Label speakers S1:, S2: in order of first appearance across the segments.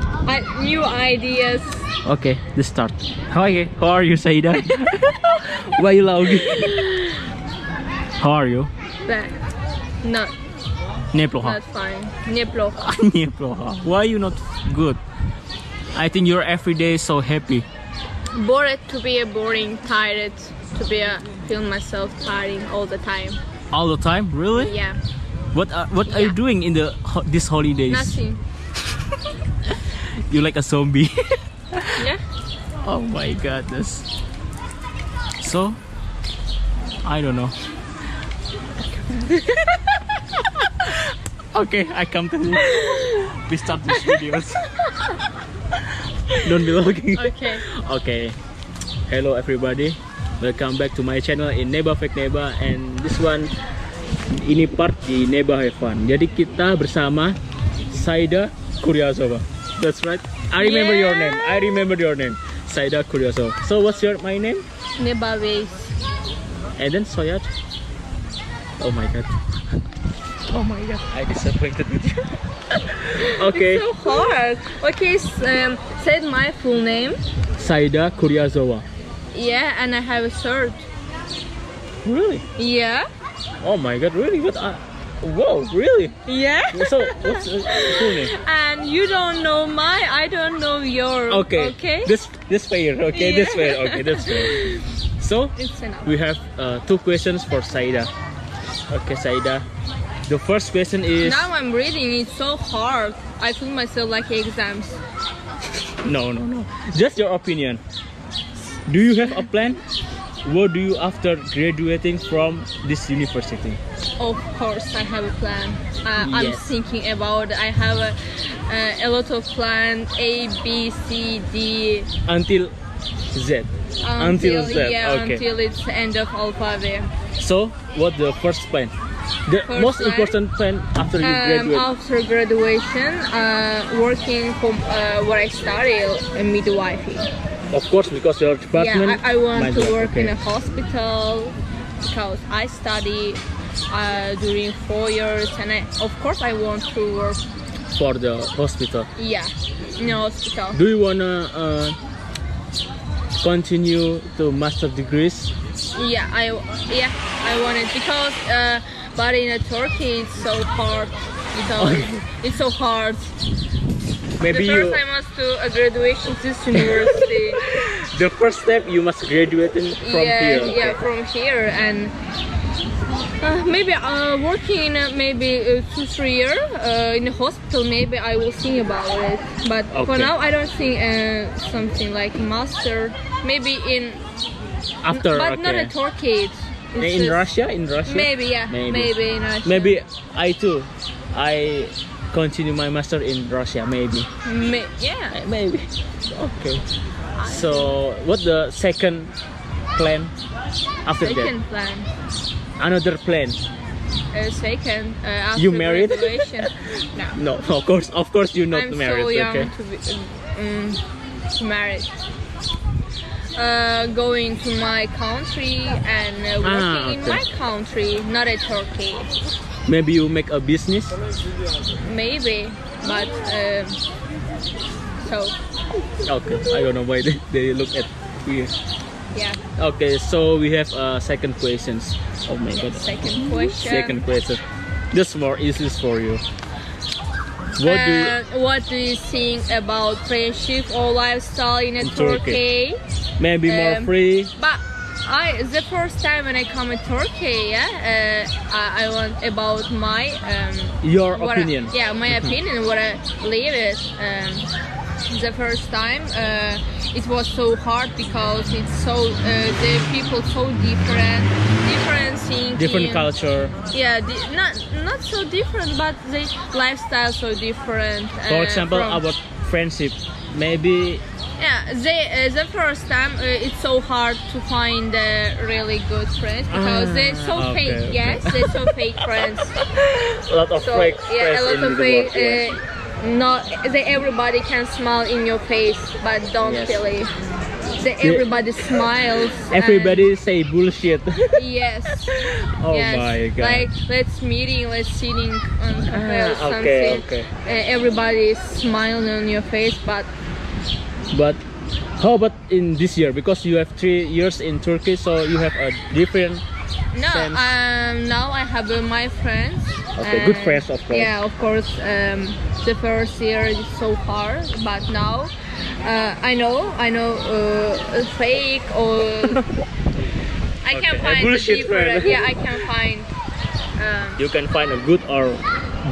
S1: I, new ideas.
S2: Okay, let's start. Hi, how are you, Saida? Why you loud? How are you?
S1: But not
S2: Neploha.
S1: not fine. Neplo.
S2: Neploha. Why you not good? I think you're every day so happy.
S1: Bored to be a boring, tired to be a feel myself tiring all the time.
S2: All the time, really?
S1: Yeah.
S2: What are, what are you
S1: Yeah.
S2: doing in the ho- these holidays?
S1: Nothing.
S2: You like a zombie.
S1: Yeah.
S2: oh my goodness. So, I don't know. okay, I come to you. We start these videos. don't be looking.
S1: Okay.
S2: Okay. Hello everybody. Welcome back to my channel in Neba Fake Neba and this one ini part di Neba Have Fun. Jadi kita bersama Saida Kuryasova. That's right. I remember your name. I remember your name. Saida Kuryasova. So what's your my name?
S1: Neba ways.
S2: And then Soyat. Oh my god.
S1: Oh my god.
S2: I disappointed with you. okay.
S1: So hard. Okay. s- Um, said my full name.
S2: Saida Kuryasova.
S1: Yeah, and I have a shirt.
S2: Really?
S1: Yeah.
S2: Oh my god, really? What I Whoa, really?
S1: Yeah.
S2: So what's uh, full name?
S1: And you don't know my, I don't know your.
S2: Okay.
S1: Okay.
S2: This this fair. Okay.
S1: Yeah.
S2: This fair. Okay. That's fair. So
S1: It's enough.
S2: we have uh, two questions for Saida. Okay, Saida. The first question is
S1: Now I'm reading. It's so hard. I feel myself like exams.
S2: no, no, no. Just your opinion. Do you have a plan? What do you after graduating from this university?
S1: Of course, I have a plan. Uh, I'm
S2: Yes.
S1: thinking about. I have a, uh, a lot of plan. A B C D
S2: Until Z. Z.
S1: yeah
S2: okay.
S1: until it's end of alphabet.
S2: So what the first plan? The
S1: First
S2: most
S1: plan?
S2: important plan after you
S1: Um,
S2: graduate.
S1: after graduation, uh, working from uh, where I started, a midwifery.
S2: Of course, because your department.
S1: Yeah, I, I want to
S2: Mindset,
S1: work in
S2: okay.
S1: a hospital because I study uh, during four years, and I, of course I want to work.
S2: for the hospital.
S1: Yeah, in a hospital.
S2: Do you wanna uh, continue to master degrees?
S1: Yeah, I yeah I want it because uh, but in Turkey it's so hard. Because
S2: Okay.
S1: it's so hard.
S2: Maybe
S1: the first
S2: you.
S1: I must do a graduation to this university.
S2: The first step you must graduate in- from
S1: yeah,
S2: here.
S1: yeah, from here and uh, maybe uh, working in uh, maybe uh, two three year uh, in a hospital. Maybe I will think about it. But for
S2: Okay.
S1: now, I don't think uh, something like master. Maybe in
S2: After
S1: but
S2: okay.
S1: not in Turkey. It's, it's
S2: in
S1: just-
S2: Russia, in Russia.
S1: Maybe yeah, maybe, in Russia.
S2: Maybe I too. I continue my master in Russia. Maybe.
S1: Ma- yeah.
S2: Maybe. Okay. So what the second plan after
S1: Second plan.
S2: that? Another plan.
S1: Uh, second. Uh, after
S2: You married?
S1: graduation. no.
S2: No, of course, of course, you're not
S1: I'm
S2: married.
S1: so young
S2: okay.
S1: to be um, to married. Uh, going to my country and uh, working
S2: Ah,
S1: in
S2: okay.
S1: my country, not at Turkey.
S2: Maybe you make a business.
S1: Maybe, but um, so
S2: Okay, I don't know why they, they look at here.
S1: yeah.
S2: Okay, so we have uh, second questions. Oh my god.
S1: Second question.
S2: Second question. This more easy for you. What do you,
S1: Uh, what do you think about friendship or lifestyle in, a
S2: In Turkey.
S1: Turkey?
S2: maybe more
S1: um,
S2: free?
S1: But I the first time when I come to Turkey, yeah, uh, I, I want about my um,
S2: Your
S1: what
S2: opinion. Mm-hmm.
S1: I, yeah, my opinion. What I live it um, the first time, uh, it was so hard because it's so uh, the people so different, different thinking,
S2: Different culture,
S1: Yeah, di- not not so different, but the lifestyle so different.
S2: for
S1: uh,
S2: example,
S1: from-
S2: about friendship. Maybe
S1: yeah, they, uh, the first time uh, it's so hard to find uh, really good friends because
S2: Ah,
S1: they're so
S2: okay,
S1: fake.
S2: okay.
S1: Yes, they're so fake friends.
S2: a lot of
S1: So
S2: fake
S1: yeah,
S2: friends
S1: a lot
S2: in
S1: of
S2: the
S1: fake.
S2: world, yeah.
S1: Uh, not they, everybody can smile in your face, but don't
S2: Yes.
S1: really. that everybody smiles. and-
S2: Everybody say bullshit.
S1: yes.
S2: Oh
S1: um, yes.
S2: my God.
S1: Like let's meeting, let's sitting on cafe or
S2: Ah,
S1: something.
S2: okay, okay.
S1: Uh, everybody is smiling on your face, but
S2: but how about in this year? Because you have three years in Turkey, so you have a different.
S1: No,
S2: sense.
S1: um, now I have uh, my friends.
S2: Okay, good friends, of course.
S1: Yeah, of course. Um, the first year is so hard, but now uh, I know, I know uh, fake or I
S2: Okay,
S1: can
S2: a
S1: find the
S2: bullshit friend.
S1: different. Yeah, I can find. Um,
S2: You can find a good or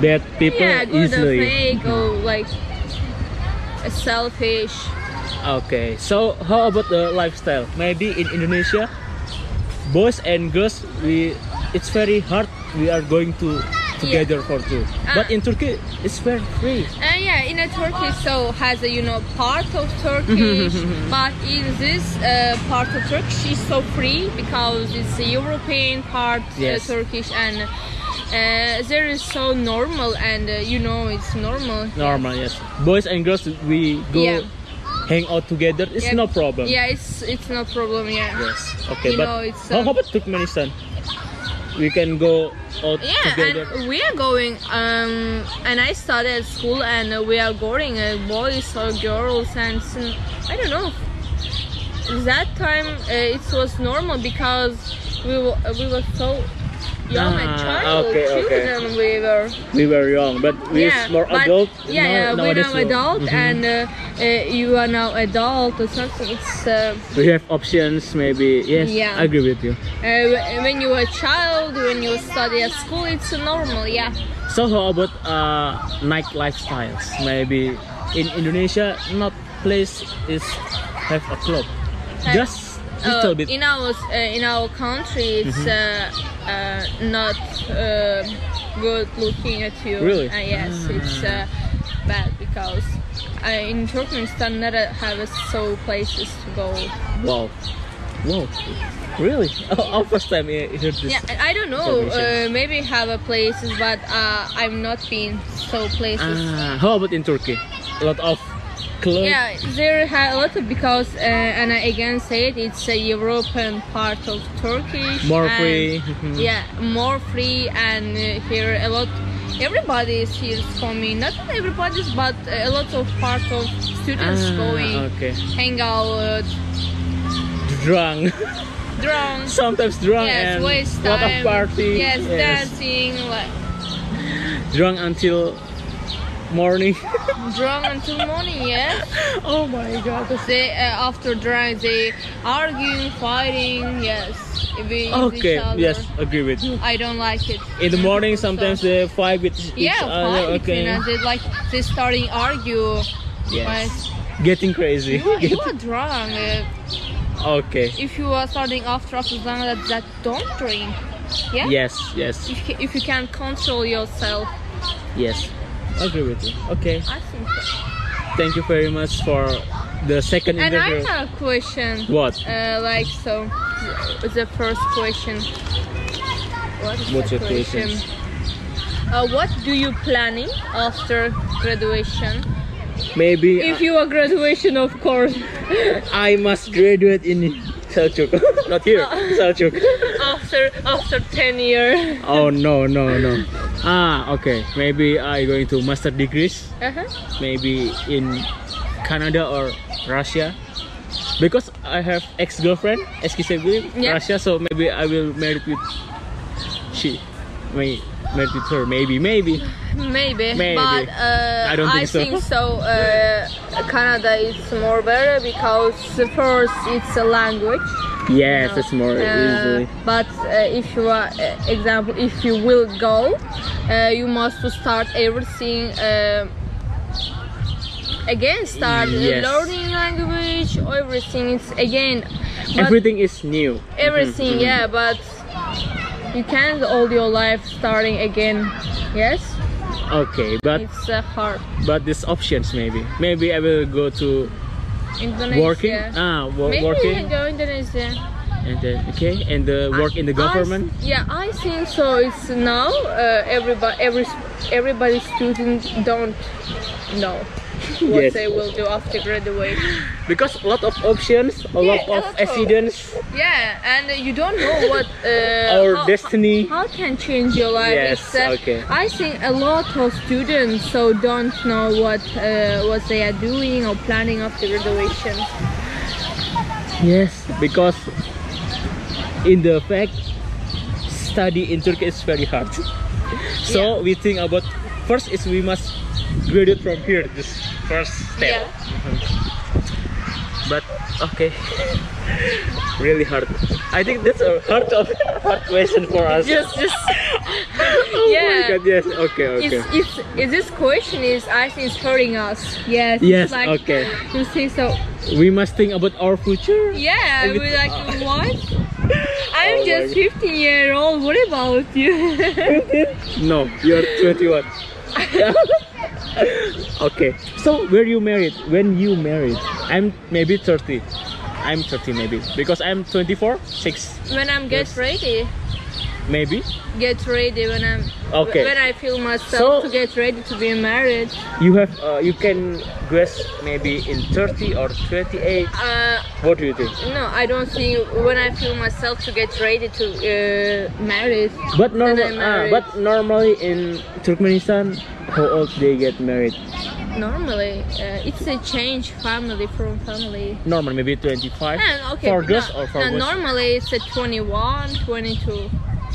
S2: bad people
S1: yeah, good or
S2: easily.
S1: fake or like selfish.
S2: Okay, so how about the lifestyle? Maybe in Indonesia, boys and girls, we it's very hard. We are going to together for two. but
S1: Ah.
S2: in Turkey, it's very free.
S1: Uh, yeah, in a Turkey, so has a you know part of Turkish, but in this uh, part of Turkish is so free because it's a European part
S2: Yes.
S1: uh, Turkish, and uh, there is so normal, and uh, you know it's normal.
S2: Normal, yes. Boys and girls, we go
S1: Yeah.
S2: hang out together. It's
S1: Yeah.
S2: no problem.
S1: Yeah, it's it's no problem. Yeah,
S2: Yes. Okay,
S1: You
S2: but
S1: know, it's,
S2: how
S1: um,
S2: about Turkmenistan? We can go out
S1: yeah,
S2: together.
S1: and we are going. Um, and I study at school, and uh, we are going uh, boys or girls, and s- I don't know. That time uh, it was normal because we were, uh, we were so young
S2: Ah,
S1: and child,
S2: okay, okay.
S1: children we were.
S2: we were young, but we
S1: yeah,
S2: more
S1: but-
S2: adult.
S1: Yeah,
S2: now-
S1: yeah, we're
S2: nowadays,
S1: now
S2: so-
S1: adult,
S2: Mhm.
S1: and uh, uh, you are now adult or something. It's. Uh,
S2: we have options. Maybe yes,
S1: Yeah.
S2: I agree with you.
S1: uh, when you were a child, when you study at school, it's normal, yeah.
S2: So how about uh, night lifestyles? Maybe in Indonesia, not place is have a club,
S1: Have-
S2: just
S1: Uh,
S2: little bit.
S1: in
S2: Mm-hmm.
S1: our uh, in our country it's uh, uh, not uh, good looking at you
S2: Really? Ah.
S1: uh, yes it's uh, bad because uh, in Turkmenistan not uh, have uh, so places to go
S2: wow, wow, really? Oh, first time I heard this.
S1: yeah I- I don't know uh,
S2: Information.
S1: maybe have a places but uh, I've not been so places
S2: Ah, how about in Turkey? A lot of club.
S1: yeah there ha- a lot of because uh, and I again said it's a European part of Turkish
S2: More
S1: and-
S2: free.
S1: yeah more free and uh, here a lot everybody is here for me not everybody's but a lot of part of students
S2: Ah,
S1: going
S2: okay.
S1: hang out
S2: Drunk.
S1: drunk
S2: Sometimes drunk
S1: yes
S2: Oh, and
S1: waste
S2: lot of
S1: time
S2: party.
S1: yes, dancing like,
S2: Drunk until morning.
S1: drunk until morning yes
S2: oh my god. that's-
S1: they uh, after drunk they arguing fighting yes with
S2: Okay.
S1: each other.
S2: Yes, agree with you.
S1: I don't like it
S2: In the morning,
S1: So-
S2: sometimes they fight with each
S1: yeah,
S2: other.
S1: fight
S2: okay.
S1: between us. They like they starting argue.
S2: Yes.
S1: Like,
S2: Getting crazy.
S1: You, you are drunk. Uh,
S2: okay.
S1: if you are starting after after drunk, that, that don't drink. Yeah.
S2: Yes. Yes.
S1: If you, if you can control yourself,
S2: Yes. Agree with you. Okay.
S1: I think. So.
S2: Thank you very much for the second
S1: And I
S2: interview.
S1: have a question.
S2: What?
S1: Uh, like so, th- the first question. What is
S2: What's
S1: the
S2: your question?
S1: Uh, what do you planning after graduation?
S2: Maybe
S1: If you are graduation, of course.
S2: I must graduate in Selçuk. Not here. Selçuk.
S1: after after ten years.
S2: Oh no no no. Ah okay. Maybe I going to master degrees.
S1: Uh-huh.
S2: Maybe in Canada or Russia. Because I have ex girlfriend, excusably
S1: Yeah.
S2: Russia. So maybe I will married with she. May married with her. Maybe maybe.
S1: Maybe,
S2: Maybe.
S1: but uh,
S2: I don't think so.
S1: uh, Canada is more better because first it's a language.
S2: Yes, it's more
S1: Uh,
S2: easily.
S1: But uh, if you are, uh, example, if you will go, uh, you must to start everything uh, again. Start uh,
S2: Yes.
S1: learning language. Everything it's again. But
S2: Everything is new.
S1: everything,
S2: Mhm, mhm.
S1: yeah. But you can't all your life starting again. Yes,
S2: Okay, but
S1: it's uh, hard.
S2: but these options maybe. Maybe I will go to
S1: Indonesia.
S2: working. Ah, wo-
S1: Maybe
S2: working.
S1: you can go Indonesia.
S2: And then okay, and the work in the government.
S1: I s- yeah, I think so. It's now uh, everybody, every everybody student don't know. what
S2: Yes.
S1: they will do after graduation.
S2: because a lot of options, a
S1: Yeah,
S2: lot
S1: a
S2: of
S1: lot of-
S2: accidents,
S1: Yeah, and you don't know what uh,
S2: our
S1: how-
S2: destiny.
S1: How can change your life?
S2: Yes,
S1: except
S2: okay.
S1: I think a lot of students so don't know what uh, what they are doing or planning after graduation.
S2: Yes, because in the fact, study in Turkey is very hard. So we think about first is we must graduate from here. This first step. Mm-hmm.
S1: Yeah.
S2: But okay, really hard. I think that's a hard of hard question for us.
S1: Just, just.
S2: Oh
S1: yeah.
S2: my God, yes. Okay. Okay.
S1: It's, it's, it's this question is I think it's hurting us. Yes.
S2: Yes,
S1: It's like,
S2: okay.
S1: You see, so
S2: we must think about our future.
S1: yeah,
S2: If
S1: we're
S2: it's-
S1: like what? I'm
S2: Oh my
S1: just
S2: God.
S1: 15 year old. What about you?
S2: No, you're 21. okay. So where you married? When you married? I'm maybe 30. I'm 30 maybe because I'm 24, 6
S1: when I'm get
S2: Yes.
S1: ready,
S2: maybe.
S1: get ready when I'm
S2: Okay.
S1: when I feel myself
S2: So-
S1: to get ready to be married.
S2: You have uh, you can guess maybe in 30 or 28.
S1: Uh,
S2: What do you think?
S1: no, I don't think when I feel myself to get ready to uh, married. When
S2: But
S1: I
S2: normal, ah,
S1: married.
S2: but normally in Turkmenistan, how old they get married?
S1: Normally, uh, it's a change family from family.
S2: Normal maybe 25
S1: And Ah, okay,
S2: for girls
S1: no,
S2: or for
S1: no,
S2: boys?
S1: normally it's a 21, 22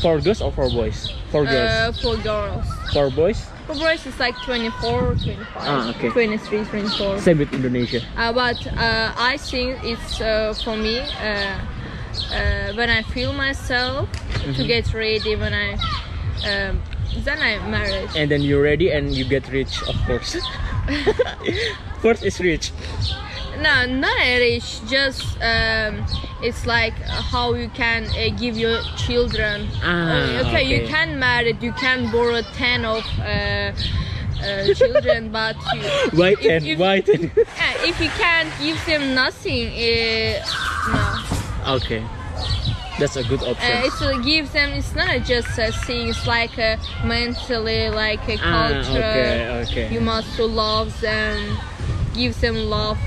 S2: for girls or for boys? For girls.
S1: uh, for girls.
S2: for boys?
S1: For boys it's like 24, 25,
S2: Ah, okay.
S1: 23, 24.
S2: Same with Indonesia.
S1: Uh, but uh, I think it's uh, for me uh, uh, when I feel myself to
S2: Mm-hmm.
S1: get ready when I um, then I married.
S2: and then you're ready and you get rich of course first is rich
S1: No, not Irish. Just um, it's like how you can uh, give your children. okay,
S2: Ah, okay.
S1: you can marry. You can borrow ten of uh, uh, children, but you,
S2: white
S1: If-
S2: and
S1: if-
S2: white and
S1: uh, if you can't give them nothing, uh, no.
S2: okay that's a good option
S1: Uh, it's uh, give them. It's not just a thing. It's like a mentally, like a
S2: Ah,
S1: culture.
S2: okay, okay.
S1: You must to love them, give them love.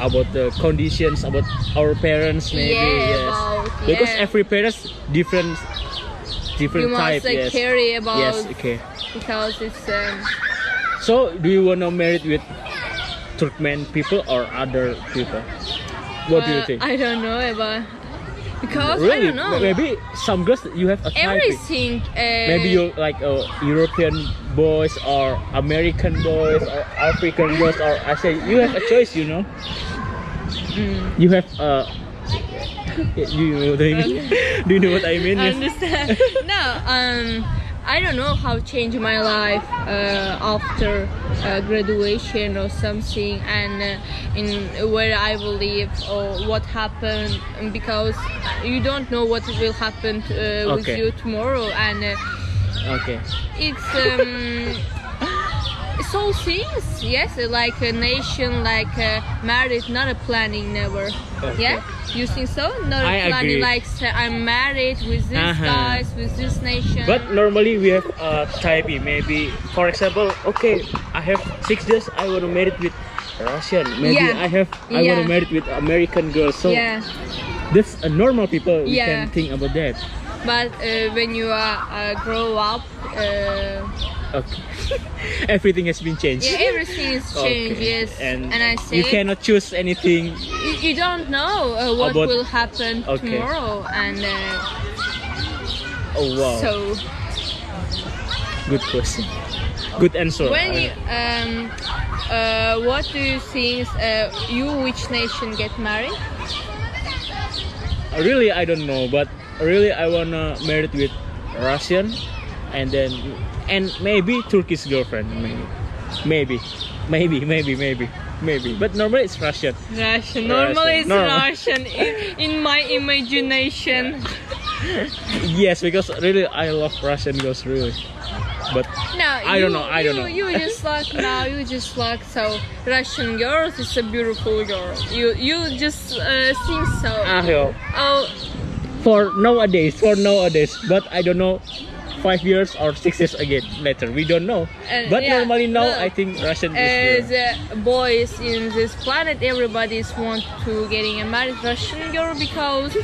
S2: about the conditions about our parents maybe
S1: Yeah,
S2: yes
S1: about-
S2: because
S1: yeah.
S2: every parents different
S1: you
S2: different type
S1: must like,
S2: yes
S1: carry about
S2: yes okay
S1: because it's um,
S2: so do you want to marry with Turkmen people or other people what do you
S1: uh,
S2: think
S1: I don't know about because I
S2: really
S1: don't know
S2: maybe some girls you have a type
S1: everything. Uh,
S2: Maybe you like uh, European boys or American boys or African boys or I say you have a choice, you know.
S1: Hmm.
S2: You have uh, you know what I mean? Do you know what I mean? Yes.
S1: understand. no, um, I don't know how change my life uh, after uh, graduation or something, and uh, in where I will live or what happened, because you don't know what will happen uh, with
S2: Okay.
S1: you tomorrow, and uh,
S2: Okay.
S1: it's. Um, It's all things, yes, like a nation, like uh married, not a planning, never.
S2: Okay.
S1: Yeah, you think so? Not a
S2: I
S1: planning,
S2: agree.
S1: like say, I'm married with these
S2: Uh-huh.
S1: guys, with this nation.
S2: But normally we have a type. Maybe for example, okay, I have six days. I want to marry with Russian. Maybe
S1: Yeah.
S2: I have I want to
S1: Yeah.
S2: marry with American girls. So
S1: yeah,
S2: that's a normal people. We
S1: Yeah.
S2: can think about that.
S1: but uh, when you are uh, grow up, uh,
S2: Okay. Everything has been changed.
S1: yeah, everything is
S2: Okay.
S1: changed. Yes,
S2: And,
S1: I say
S2: you cannot choose anything.
S1: you, you don't know uh, what
S2: About-
S1: will happen
S2: Okay.
S1: tomorrow, and uh,
S2: Oh wow.
S1: so.
S2: Good question. Good answer.
S1: When
S2: I-
S1: you, um, uh, what do you think? Uh, you which nation get married?
S2: really I don't know, but really I wanna married with Russian and then and maybe Turkish girlfriend maybe. Maybe. Maybe, maybe, maybe. Maybe. But normally it's Russian.
S1: Russian. Normally
S2: Normally it's
S1: it's
S2: Normal.
S1: Russian in, my imagination.
S2: Yes, because really I love Russian girls really. But
S1: No,
S2: I don't know, I don't
S1: you,
S2: know.
S1: You just like now. You just like so. Russian girls is a beautiful girl. You you just uh, think so.
S2: ah, yo,
S1: oh,
S2: for nowadays, for nowadays. But I don't know five years or six years again later. We don't know.
S1: And
S2: but
S1: yeah,
S2: normally now,
S1: look,
S2: I think Russian is
S1: As
S2: the
S1: uh, boys in this planet, everybody's want to getting a married Russian girl because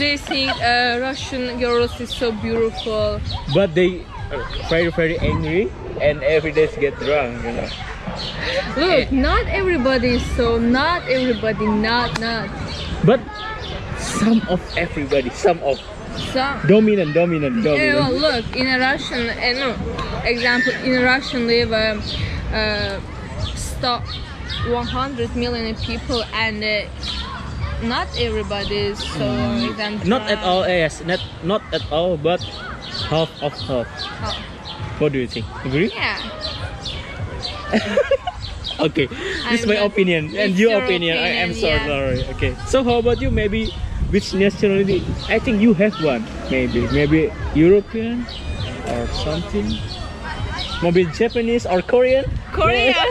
S1: they think uh, Russian girls is so beautiful.
S2: but they are very very angry and every day get drunk. You know.
S1: Look, not everybody is so. Not everybody. Not not.
S2: But some of everybody, some of
S1: Some.
S2: dominant, dominant,
S1: Yeah, well,
S2: dominant.
S1: look, in a Russian, uh, no, example, in Russian live um, uh, stop 100 million people and uh, not everybody is so example,
S2: Hmm. Not at all, yes, not not at all, but half of half. What do you think? Agree?
S1: Oh, Yeah,
S2: Okay, this is
S1: I'm
S2: my
S1: not-
S2: opinion and
S1: it's
S2: your
S1: your
S2: opinion. I am so
S1: opinion, yeah.
S2: sorry. Okay, so how about you? Maybe which nationality? I think you have one. Maybe maybe European or something. Maybe Japanese or Korean.
S1: Korea.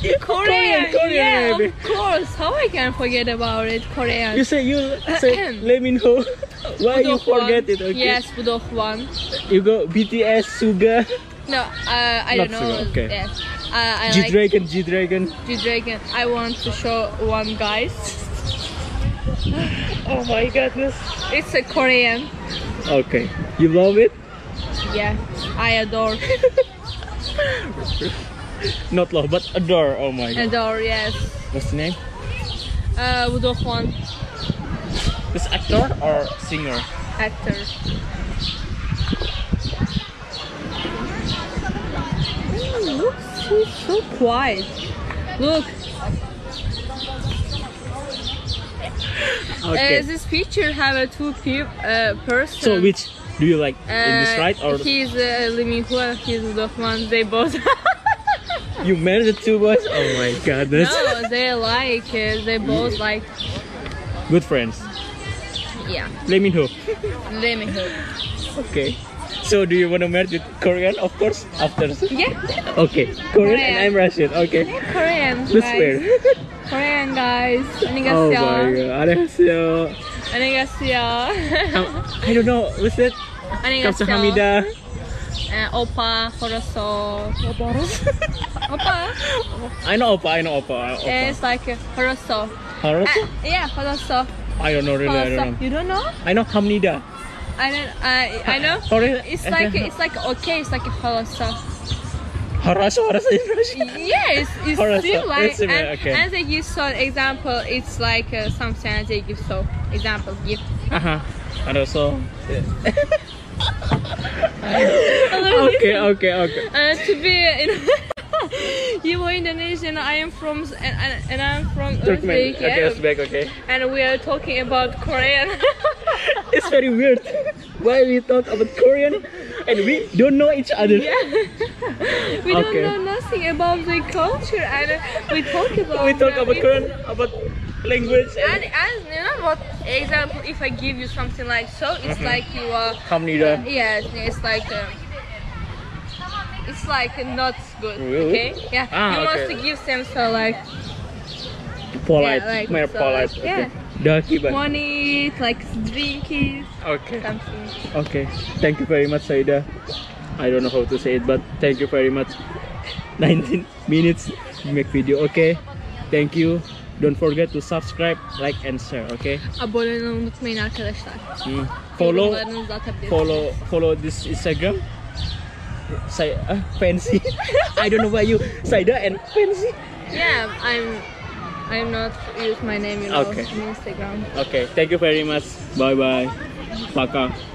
S2: Yeah,
S1: Korea,
S2: Korean, Korean
S1: yeah,
S2: maybe.
S1: of course. How I can forget about it, Korea?
S2: You say you say let me know why you forget it. Okay.
S1: Yes, Budokwan.
S2: You go BTS, Suga,
S1: No, uh, I
S2: Not
S1: don't know.
S2: sure, okay.
S1: Yes. Uh, I
S2: G
S1: like
S2: Dragon, G Dragon.
S1: G-Dragon. I want to show one guys.
S2: Oh my goodness.
S1: It's a Korean.
S2: Okay, you love it?
S1: Yeah, I adore,
S2: Not love, but adore. Oh my god.
S1: adore. Yes.
S2: What's the name?
S1: Uh, Woo Hwan,
S2: This actor or singer?
S1: actor. Mm, looks so, so quiet. Look,
S2: Okay.
S1: uh, this picture have a two peop uh, person.
S2: so which do you like
S1: Uh,
S2: in this right or
S1: He's uh, Lee Min Hwa, he's Woo Hwan. They both.
S2: you married the two boys? Oh my goodness.
S1: no, they like. Uh, they both like.
S2: Good friends.
S1: Yeah,
S2: Let me know.
S1: Lee Min Hwa.
S2: Okay. So do you want to marry the Korean? Of course. After.
S1: Yeah,
S2: Okay. Korean and I'm Russian. Okay.
S1: Korean
S2: That's
S1: guys.
S2: fair.
S1: Korean guys.
S2: Oh
S1: 안녕하세요.
S2: my god. 안녕하세요.
S1: 안녕하세요.
S2: Um, I don't know. What's that?
S1: 안녕하세요.
S2: 감사합니다.
S1: 에, 오빠 걸었어. 오빠 오빠.
S2: I know Oppa. I know Oppa. Oppa.
S1: 에, It's like 걸었어.
S2: Harus?
S1: 아, yeah, 걸었어.
S2: I don't know really. I
S1: 걸었어.
S2: don't know.
S1: You don't know?
S2: I know Hamnida.
S1: I don't. I I know.
S2: Sorry.
S1: It's like it's like okay. It's like 걸었어.
S2: Haraso, haraso in Russian.
S1: Yeah, it's it's
S2: 걸었어.
S1: still like
S2: It's
S1: and,
S2: similar, okay.
S1: and they give so example. It's like uh, sometimes they give so example give.
S2: Aha. Haraso. Okay, okay, okay.
S1: Uh, to be in you were Indonesian. I am from and, and, and I'm from Uzbek,
S2: Turkmen. Okay,
S1: yeah.
S2: Uzbek, okay.
S1: and we are talking about Korean.
S2: It's very weird. Why we talk about Korean and we don't know each other.
S1: we
S2: Okay.
S1: don't know nothing about the culture, and uh, we talk about
S2: We talk
S1: them.
S2: about
S1: If-
S2: Korean, about language
S1: And,
S2: and
S1: and you know what? Example, if I give you something like so, it's
S2: Mm-hmm.
S1: like you are.
S2: Hamnida.
S1: Yeah, it's like. Uh, it's like not good. Okay.
S2: Really?
S1: Yeah.
S2: Ah,
S1: you
S2: okay.
S1: must give them so like
S2: Polite.
S1: Yeah, like,
S2: More
S1: so,
S2: polite.
S1: like,
S2: Okay.
S1: yeah.
S2: Daki ban.
S1: money, like drink it,
S2: Okay.
S1: something.
S2: Okay. Thank you very much, Saida. I don't know how to say it, but thank you very much. 19 minutes we make video. Okay. Thank you. Don't forget to subscribe, like, and share. Okay.
S1: Abone olmayı unutmayın arkadaşlar.
S2: Hmm. Follow,
S1: Yorumlarınızı atabilirsiniz.
S2: follow, follow this Instagram. Say ah, fancy. I don't know why you Saida and fancy.
S1: Yeah, I'm I'm not use my name, you know,
S2: Okay.
S1: in Instagram.
S2: Okay. Thank you very much. Bye bye. Paka.